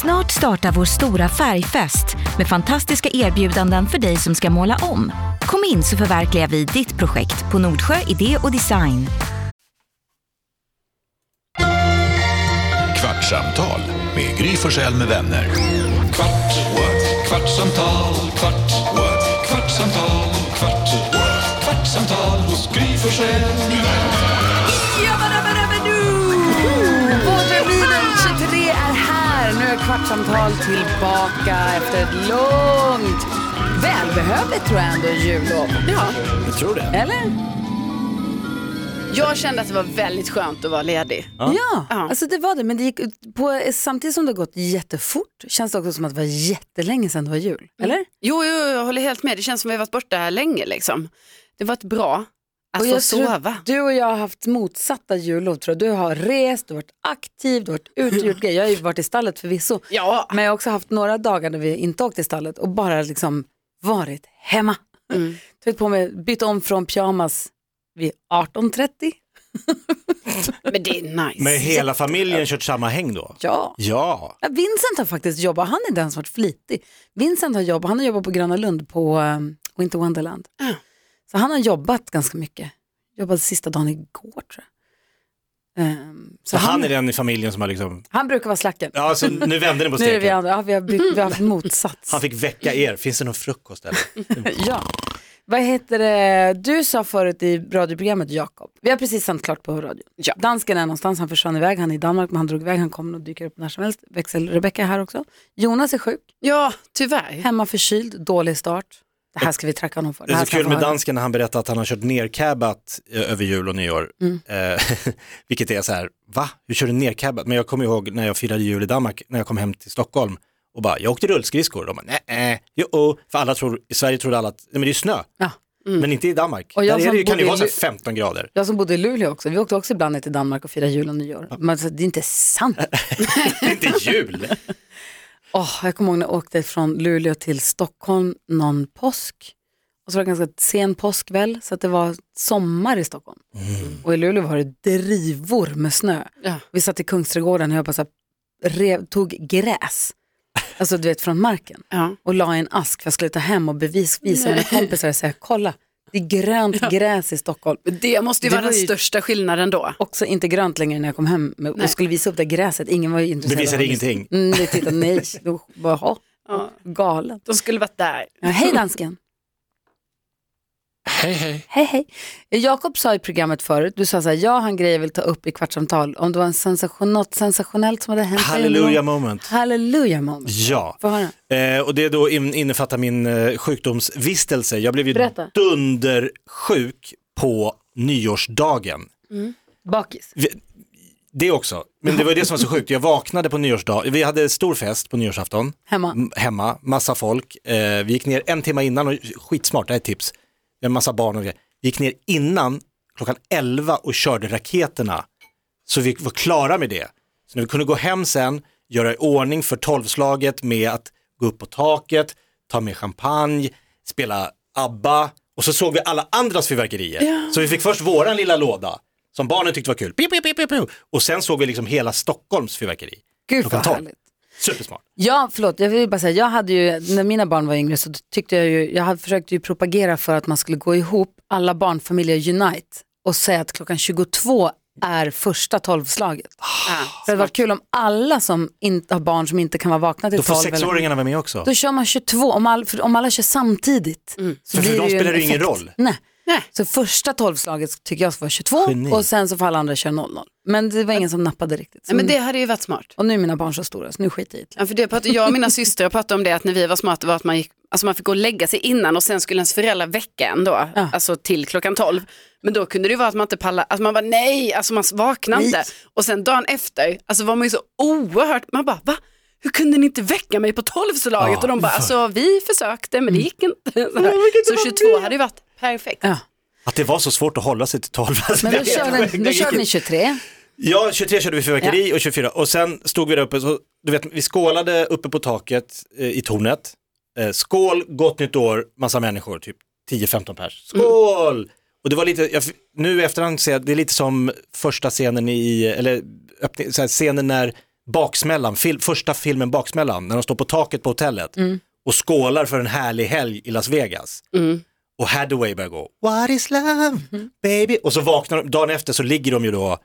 Snart startar vår stora färgfest med fantastiska erbjudanden för dig som ska måla om. Kom in så förverkligar vi ditt projekt på Nordsjö Idé och Design. Kvartsamtal med Gry Forssell med vänner. Kvart, what? kvartsamtal, kvart, what? kvartsamtal, kvart, what? kvartsamtal hos Gry Forssell med vänner. Vårterminen 23 är här. Nu är Kvartsamtal tillbaka efter ett långt, välbehövligt tror jag ändå jullov. Ja. Jag tror det. Eller? Jag kände att det var väldigt skönt att vara ledig. Ja, Ja. alltså det var det. Men det gick ut på, samtidigt som det har gått jättefort känns det också som att det var jättelänge sedan det var jul. Eller? Mm. Jo, jo, jag håller helt med. Det känns som att vi har varit borta här länge liksom. Det var ett bra att få tror sova. Du och jag har haft motsatta jullov tror jag. Du har rest, du har varit aktiv, du har varit ute och gjort grejer. Jag har ju varit i stallet förvisso. Ja. Men jag har också haft några dagar när vi inte åkt i stallet och bara liksom varit hemma. Mm. Tagit på mig, bytt om från pyjamas vid 18.30. Men det är nice. Med hela familjen kört samma häng då? Ja. Ja. Ja, Vincent har faktiskt jobbat, han är den som varit flitig. Vincent har jobbat, han har jobbat på Gröna Lund på um, Winter Wonderland. Ja. Så han har jobbat ganska mycket. Jobbade sista dagen igår tror jag. Ehm, så Så han, han är den i familjen som har liksom, han brukar vara slacken. ja så nu vände ni på nu är det vi steken. andra, ja, vi har, bytt, vi har haft motsats. Han fick väcka er, finns det någon frukost eller? Mm. Ja. Vad heter det, du sa förut i radioprogrammet Jakob, vi har precis sänt klart på radio. Ja. Dansken är någonstans, han försvann iväg, han är i Danmark men han drog iväg, han kommer och dyker upp när som helst. Växel Rebecka är här också. Jonas är sjuk, Ja, tyvärr. hemma förkyld, dålig start. Det här ska vi tracka honom för. Det är här så ska kul han med få höra. dansken när han berättar att han har kört nercabbat eh, över jul och nyår. Mm. Eh, vilket är så här, va? Hur kör du nercabbat? Men jag kommer ihåg när jag firade jul i Danmark, när jag kom hem till Stockholm och bara, jag åkte rullskridskor. De bara, nej, jo, oh. för alla tror, i Sverige trodde alla att, nej men det är ju snö, Ja. men inte i Mm. Danmark. Och jag Där är som det, ju- kan det ju bodde vara i så här Lu- 15 grader. Jag som bodde i Luleå också, vi åkte också ibland ner till Danmark och firade jul och nyår. Men alltså, det är inte sant. Det är inte jul. Åh, jag kommer ihåg när jag åkte från Luleå till Stockholm någon påsk. Och så var det ganska sen påsk väl, så att det var sommar i Stockholm. Och i Luleå var det drivor med snö. Ja. Vi satt i Kungsträdgården och jag bara så här, rev, tog gräs, alltså du vet från marken, Ja. och la i en ask för jag skulle ta hem och bevisvisa mina kompisar och säga kolla, det är grönt gräs i Stockholm. Det måste ju Det vara var den ju- största skillnaden då. Också inte grönt längre när jag kom hem med, och skulle visa upp det gräset. Ingen var ju intresserad. Bevisade av det. ingenting. Mm, det tittade, nej, då bara, "Jaha, galen. De skulle varit där. Ja, hej dansken. Hej hej. Hej hej. Jakob sa i programmet förut, du sa så här, jag har en grej jag vill ta upp i kvartsamtal. Om det var en sensation, något sensationellt som hade hänt. dig någon- Hallelujah moment. Halleluja moment. Ja, Få höra. eh, och det då in, innefattar min eh, sjukdomsvistelse. Jag blev ju Berätta. dundersjuk på nyårsdagen. Bakis. Vi, det också, men det var ju det som var så sjukt. Jag vaknade på nyårsdag, vi hade stor fest på nyårsafton. Hemma. M- hemma, massa folk. Eh, vi gick ner en timme innan och skitsmart, det här är ett tips. Det är en massa barn och grejer. Vi gick ner innan klockan 11 och körde raketerna. Så vi var klara med det. Så när vi kunde gå hem sen, göra i ordning för tolvslaget med att gå upp på taket, ta med champagne, spela ABBA och så såg vi alla andras fyrverkerier. Så vi fick först våran lilla låda som barnen tyckte var kul. Piu, piu, piu, piu, piu. Och sen såg vi liksom hela Stockholms fyrverkeri. Gud Klockan vad tolv. härligt. Supersmart. Ja, förlåt, jag vill bara säga, jag hade ju, när mina barn var yngre så tyckte jag ju, jag hade försökt ju propagera för att man skulle gå ihop alla barnfamiljer unite och säga att klockan 22 är första tolvslaget. Ah, Ja. Så det hade varit kul om alla som inte har barn som inte kan vara vakna till Då får tolv, eller- sexåringarna vara med också. då kör man 22, om, all, för om alla kör samtidigt. Mm. Så För- för de ju spelar en det ju ingen effekt. roll. Nej. Nej. Så första tolvslaget tycker jag ska vara 22 Geni. och sen så får alla andra köra 00. Men det var ingen som nappade riktigt. Så Nej, men det hade ju varit smart. Och nu är mina barn så stora så nu skiter jag i det. Ja, för det pratade, jag och mina systrar pratade om det att när vi var smarta var att man, gick, alltså man fick gå och lägga sig innan och sen skulle ens föräldrar väcka en då, Ja. alltså till klockan 12. Men då kunde det ju vara att man inte pallade, alltså man bara nej, alltså man vaknade Nej. inte. Och sen dagen efter, alltså var man ju så oerhört, man bara va? Hur kunde ni inte väcka mig på tolvslaget? Ja, och de bara, för- alltså vi försökte men det gick inte. Så, så 22 hade ju varit perfekt. Ja. Att det var så svårt att hålla sig till 12. Alltså, Men det då är helt körde, sjukt. då körde ni 23. Ja, 23 körde vi fyrverkeri och 24. Och sen stod vi där uppe, så, du vet, vi skålade uppe på taket eh, i tornet. Eh, skål, gott nytt år, massa människor, typ 10-15 pers. Skål! Och det var lite, jag, nu i efterhand ser jag, det är lite som första scenen i, eller öppning, så här, scenen när Baksmällan, fil, första filmen Baksmällan, när de står på taket på hotellet och skålar för en härlig helg i Las Vegas. Och Hathaway börjar gå, what is love, baby? Och så vaknar de, dagen efter så ligger de ju då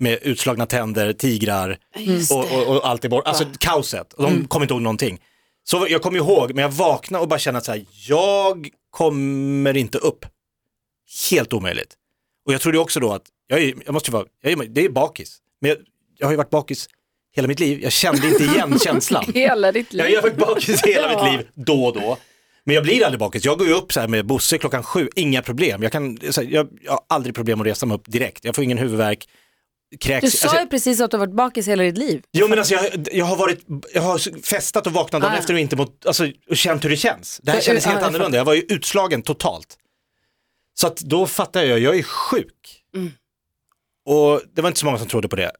med utslagna tänder, tigrar Mm. och, och, och allt är bort. Alltså kaoset, och de kommer inte ihåg någonting. Så jag kommer ihåg, men jag vaknade och bara kände att så här, jag kommer inte upp. Helt omöjligt. Och jag trodde också då att, jag, är, jag måste ju vara, jag är, det är bakis. Men jag, jag har ju varit bakis hela mitt liv, jag kände inte igen känslan. Hela ditt liv. Jag har varit bakis hela mitt liv, då och då. Men jag blir aldrig bakis, jag går ju upp så här med Bosse klockan sju, inga problem. Jag, kan, så här, jag, jag har aldrig problem att resa mig upp direkt, jag får ingen huvudvärk. Kräks. Du sa Alltså, ju precis att du har varit bakis hela ditt liv. Jo men alltså jag, jag har varit, jag har festat och vaknat dagen efter och inte mot, alltså och känt hur det känns. Det här Ah. För- kändes ja, helt jag annorlunda, jag var ju utslagen totalt. Så att då fattade jag, jag är sjuk. Mm. Och det var inte så många som trodde på det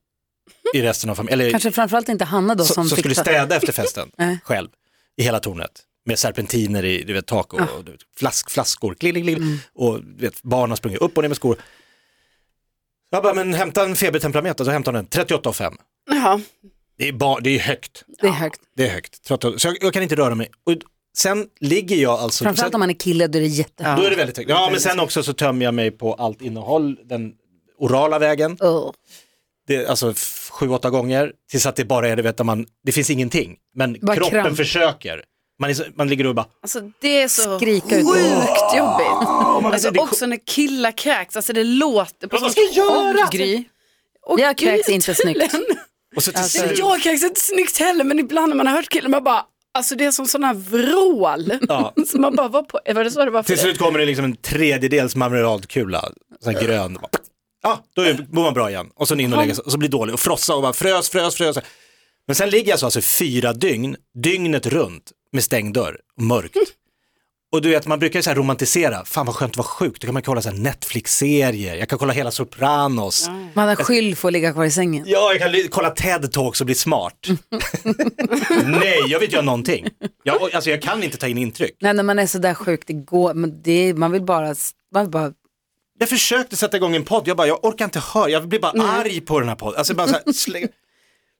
i resten av familjen, eller Kanske framförallt inte Hanna då som, som som fick skulle ta- städa efter festen Nej. själv i hela tornet. Med serpentiner i du vet, tak och, och du vet, flask, flaskor, kling, kling, kling. och du vet, barn har sprungit upp och ner med skor. Jag bara, men hämta en febertemperament och så hämtade hon den, 38,5. Jaha. Det är, bar, det är högt. Det är högt. Det är högt. 38. Så jag, jag kan inte röra mig. Och sen ligger jag alltså... Sen, Framförallt om man är kille då är det jätte... Då är det väldigt högt. Ja, men sen också så tömmer jag mig på allt innehåll den orala vägen. Ugh. Det, alltså f- sju, åtta gånger. Tills att det bara är, det vet att man, det finns ingenting. Men Bara kroppen kramp. försöker. Man, är, så- man ligger och bara, Alltså det är så Skrika ut. sjukt jobbigt. alltså, Alltså det, också när killar kräks, alltså det låter på vad ska jag göra? Alltså, Gry. Och Jag kräks gud, inte snyggt. tydligen. Och så till Alltså, Nej, slut, Jag kräks inte snyggt heller men ibland när man har hört killar man bara, alltså det är som sådana här vrål. Ja. Så man bara, var på, var det så det var för till dig? slut kommer det liksom en tredjedels marmeladkula. Sån här grön. Bara, Ja, då är- mår man bra igen. Och sen in och lägga sig. Och så blir det dålig. Och frossa och bara frös, frös, frös. Men sen ligger jag så alltså fyra dygn, dygnet runt med stängd dörr, mörkt. Och du vet, man brukar ju så här romantisera, fan vad skönt att vara sjuk, då kan man kolla så här Netflix-serier, jag kan kolla hela Sopranos, Man har skyll för att ligga kvar i sängen. ja jag kan li- kolla TED-talks och bli smart. Nej, jag vet ju någonting. Jag, och- alltså jag kan inte ta in intryck. Nej, när man är så där sjuk, det går, men det, man vill bara, man vill bara Jag försökte sätta igång en podd, jag bara, jag orkar inte höra, jag blir bara arg på den här podden. Alltså, bara så, här, släng...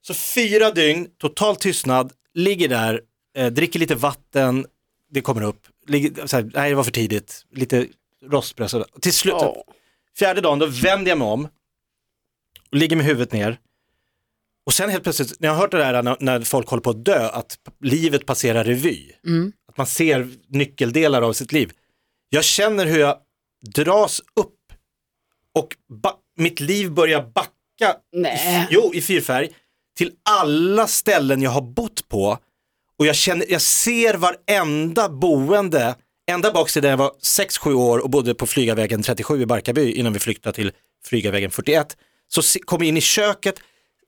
så fyra dygn, total tystnad, ligger där, eh, dricker lite vatten, det kommer upp, ligger, så här, nej det var för tidigt, lite rostpress. och- Till slut, Åh. fjärde dagen, då vänder jag mig om och ligger med huvudet ner. Och sen helt plötsligt, när jag har hört det där när, när folk håller på att dö, att p- livet passerar revy, att man ser nyckeldelar av sitt liv. Jag känner hur jag dras upp och ba- mitt liv börjar backa i, f- Nej. jo, i fyrfärg till alla ställen jag har bott på och jag, känner, jag ser varenda boende, ända bak till där jag var 6-7 år och bodde på Flygavägen 37 i Barkarby innan vi flyttade till Flygavägen 41, så se- kom jag in i köket,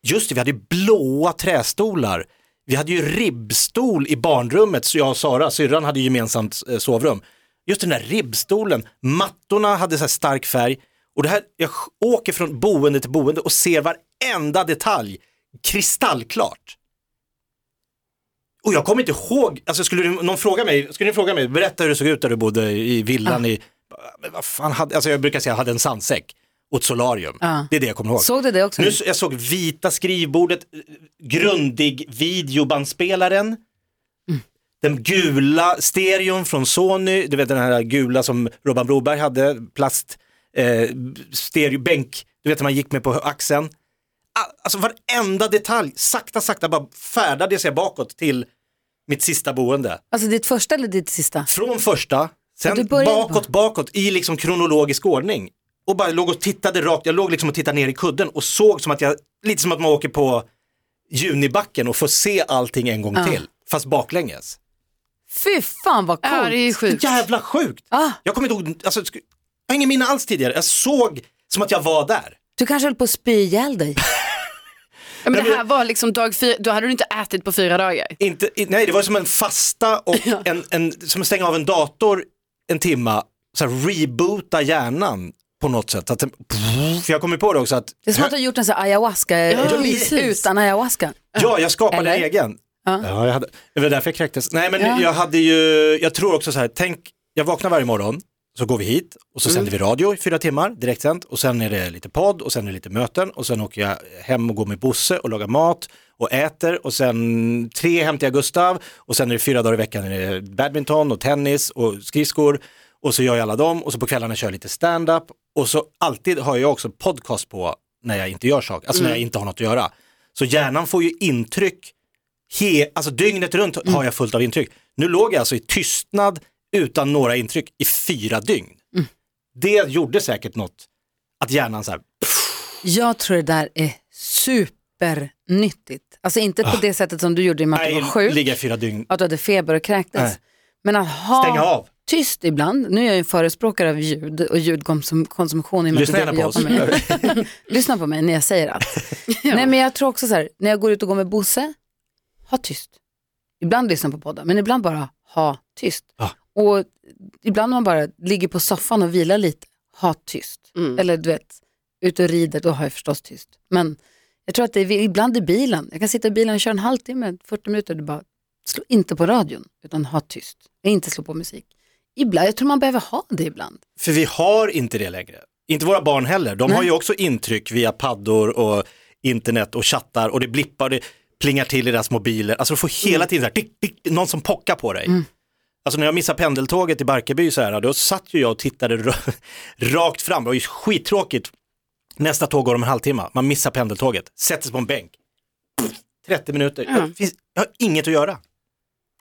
just det, vi hade ju blåa trästolar, vi hade ju ribbstol i barnrummet, så jag och Sara, syrran, hade ju gemensamt eh, sovrum. Just den där ribbstolen, mattorna hade så här stark färg och det här, jag sj- åker från boende till boende och ser varenda detalj kristallklart. Och jag kommer inte ihåg, alltså skulle du, någon fråga mig, skulle ni fråga mig, berätta hur det såg ut där du bodde i villan i, men vad fan hade, alltså jag brukar säga jag hade en sandsäck och ett solarium. Ja. Det är det jag kommer ihåg. Såg du det också? Nu, så- jag såg vita skrivbordet, eh, grundig videobandspelaren, den gula stereon från Sony, du vet den här gula som Robban Broberg hade, plast, eh, stereobänk, du vet när man gick med på axeln. Ah, Alltså varenda detalj, sakta sakta bara färdades jag bakåt till mitt sista boende. Alltså ditt första eller ditt sista? Från första, du sen började bakåt, bakåt i liksom kronologisk ordning. Och bara låg och tittade rakt, jag låg liksom och tittade ner i kudden och såg som att jag, lite som att man åker på Junibacken och får se allting en gång till, fast baklänges. Fy fan vad Ja, det coolt. är ju sjukt. Jävla sjukt! Ah. Jag kommer inte ihåg, alltså, sku- jag har ingen minne alls tidigare, jag såg som att jag var där. Du kanske höll på att spy ihjäl dig. Ja, men det här var liksom dag fyra, då hade du inte ätit på fyra dagar. Inte, i- nej, det var som en fasta och en, en, som att stänga av en dator en timma, så här, reboota hjärnan på något sätt. Att, den- för jag kom ju på det också att Det är som att du har gjort en sån här ayahuasca eh, precis. utan ayahuasca. Ja, jag skapade Eller? egen. Ja. jag hade, det var därför jag kräktes. Nej, men jag hade ju, jag tror också så här, tänk, jag vaknar varje morgon, Så går vi hit och så sänder vi radio i fyra timmar direktsänt och sen är det lite podd och sen är det lite möten och sen åker jag hem och går med Bosse och lagar mat och äter och sen tre hämtar jag Gustav och sen är det fyra dagar i veckan är det badminton och tennis och skridskor och så gör jag alla dem och så på kvällarna kör jag lite stand-up och så alltid har jag också podcast på när jag inte gör saker, alltså när jag inte har något att göra. Så hjärnan får ju intryck He, alltså dygnet runt har jag fullt av intryck. Nu låg jag alltså i tystnad utan några intryck i fyra dygn. Mm. Det gjorde säkert något, att hjärnan så här, Jag tror det där är supernyttigt. Alltså inte på det sättet som du gjorde i och med att du Ah. nej, var sjuk, ligga i fyra dygn, att du hade feber och kräktes. Nej. Men att ha stänga av. tyst ibland, nu är jag ju en förespråkare av ljud och ljudkonsumtion i och med att Lyssna det är gärna det på jag oss. jobbar med. Lyssna på mig när jag säger allt. Nej men jag tror också så här, när jag går ut och går med Bosse, ha tyst. Ibland lyssna på podden, men ibland bara ha tyst. Ja. Och ibland när man bara ligger på soffan och vilar lite, ha tyst. Mm. Eller du vet, ute och rider, då har jag förstås tyst. Men jag tror att det är ibland i bilen, jag kan sitta i bilen och köra en halvtimme, 40 minuter, det bara, slå inte på radion, utan ha tyst. Inte slå på musik. Ibland, jag tror man behöver ha det ibland. För vi har inte det längre. Inte våra barn heller. De har ju också intryck via paddor och internet och chattar och det blippar och det plingar till i deras mobiler. Alltså du får Mm. hela tiden så här, tick, tick, någon som pockar på dig. Alltså när jag missade pendeltåget i Barkarby så här, då satt ju jag och tittade ra- rakt fram. Det var ju skittråkigt. Nästa tåg går om en halvtimme, man missar pendeltåget, sätter sig på en bänk. Pff, 30 minuter, Mm. jag, finns, jag har inget att göra.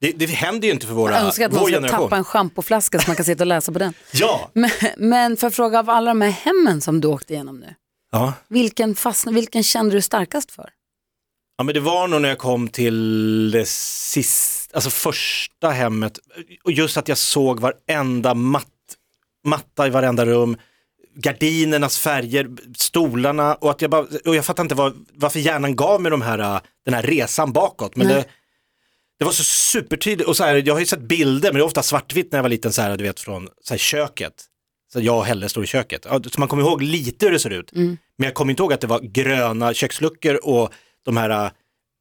Det, det händer ju inte för våra, Jag önskar att vår man ska generation. tappa en Mm. schampoflaska så man kan sitta och läsa på den. Ja. Men, men för att fråga av alla de här hemmen som du åkte igenom nu, ja. vilken, fastna, vilken kände du starkast för? Ja men det var nog när jag kom till det sist, alltså första hemmet och just att jag såg varenda matt, matta i varenda rum, gardinernas färger, stolarna och att jag bara, och jag fattar inte vad, varför hjärnan gav mig de här, äh, den här resan bakåt men det, det var så supertydligt och så här, jag har ju sett bilder men det är ofta svartvitt när jag var liten så här, du vet från så här, köket. Så jag och Helle står i köket. Ja, Så man kommer ihåg lite hur det ser ut. Mm. Men jag kommer inte ihåg att det var gröna köksluckor och de här äh,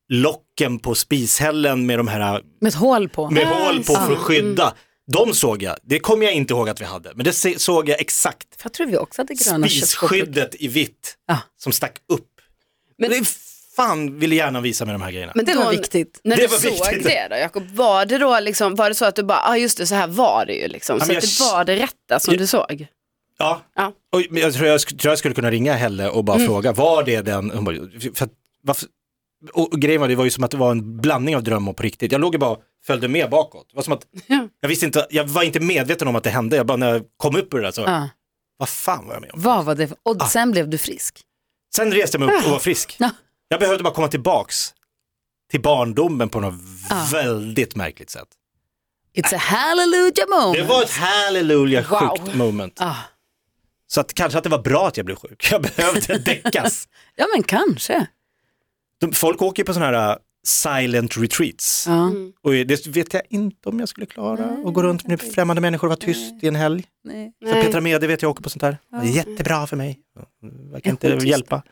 locken på spishällen med de här äh, Med ett hål på? med hål på för att Mm. skydda. De såg jag, det kommer jag inte ihåg att vi hade, men det se- såg jag exakt. För jag tror vi också hade gröna köttbullar. Spisskyddet i vitt Ja. som stack upp. Men- det är fan ville gärna visa med de här grejerna. Men Det var då- viktigt. När Det du var såg viktigt. det då Jakob, var det då liksom, var det så att du bara, ja ah, just det så här var det ju liksom, Ja, så men att det jag- var det rätta som du såg? Ja. Ja. Och jag tror jag, sk- tror jag skulle kunna ringa Helle och bara fråga, var det den? Hon bara, för att, varför? Och och grejen var, det var ju som att det var en blandning av dröm och på riktigt. Jag låg ju bara och följde med bakåt. Det var som att, Ja. jag, visste inte, jag var inte medveten om att det hände. Jag bara, när jag kom upp ur det där så, Ja. vad fan var jag med om? Vad var det för? Ah. Och sen blev du frisk. Sen reste jag mig upp och var frisk. Ja. Jag behövde bara komma tillbaks till barndomen på något väldigt märkligt sätt. It's a hallelujah moment. Det var ett halleluja Wow. sjukt moment. Ah. Så att, kanske att det var bra att jag blev sjuk. Jag behövde däckas. Ja men kanske. De, folk åker ju på sådana här uh, silent retreats. Ja. Och det vet jag inte om jag skulle klara. Och gå runt med främmande människor och vara tyst i en helg. Nej. Sen Petra Mede vet jag åker på sånt där. Det är jättebra för mig. Jag kan inte Är hon tyst? hjälpa.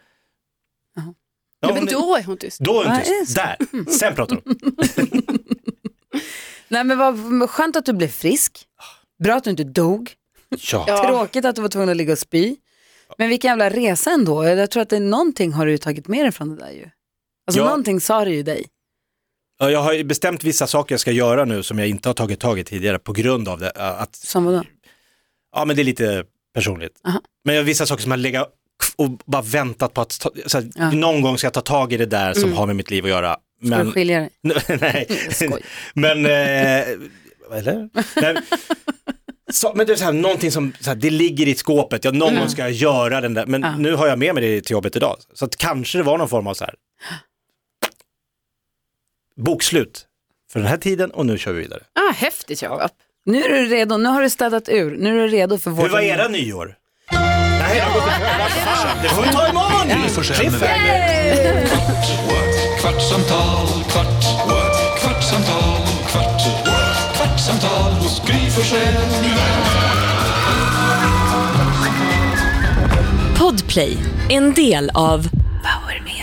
Jaha. Ja, ja, men hon är- då är hon tyst. då är hon Ja, tyst. just Där, sen pratar hon. Nej men vad vad skönt att du blev frisk. Bra att du inte dog. Ja. Ja. Tråkigt att du var tvungen att ligga och spy. Men vilken jävla resa ändå. Jag tror att det är någonting har du ju tagit med dig från det där ju. Alltså Ja. någonting sa det ju dig. Ja, Jag har ju bestämt vissa saker jag ska göra nu som jag inte har tagit tag i tidigare på grund av det. uh, Att, Som vadå? ja men det är lite personligt. Aha. Men jag har vissa saker som jag lägger och bara väntat på att ta, så här, Ja. Mm. någon gång ska jag ta tag i det där som har med mitt liv att göra. Ska Men, du Mm, skilja dig? nej, Jag skojar. men, eh, eller? Nej. Så, men det är så här, någonting som, så här, det ligger i skåpet, ja, någon gång ska jag göra den där, men Mm. Ja. nu har jag med mig det till jobbet idag. Så att kanske det var någon form av så här, bokslut för den här tiden och nu kör vi vidare. Ah, häftigt Jakob. Nu är du redo, nu har du städat ur, nu är du redo för vårt Hur var era nyår? Nej, jag går- vad fan, det får vi ta Gry imorgon! Forssell med vänner. Kvart, what? kvartsamtal, kvart, what? kvartsamtal, kvart, what? kvartsamtal hos Gry Forssell med vänner. Podplay, en del av Power Media.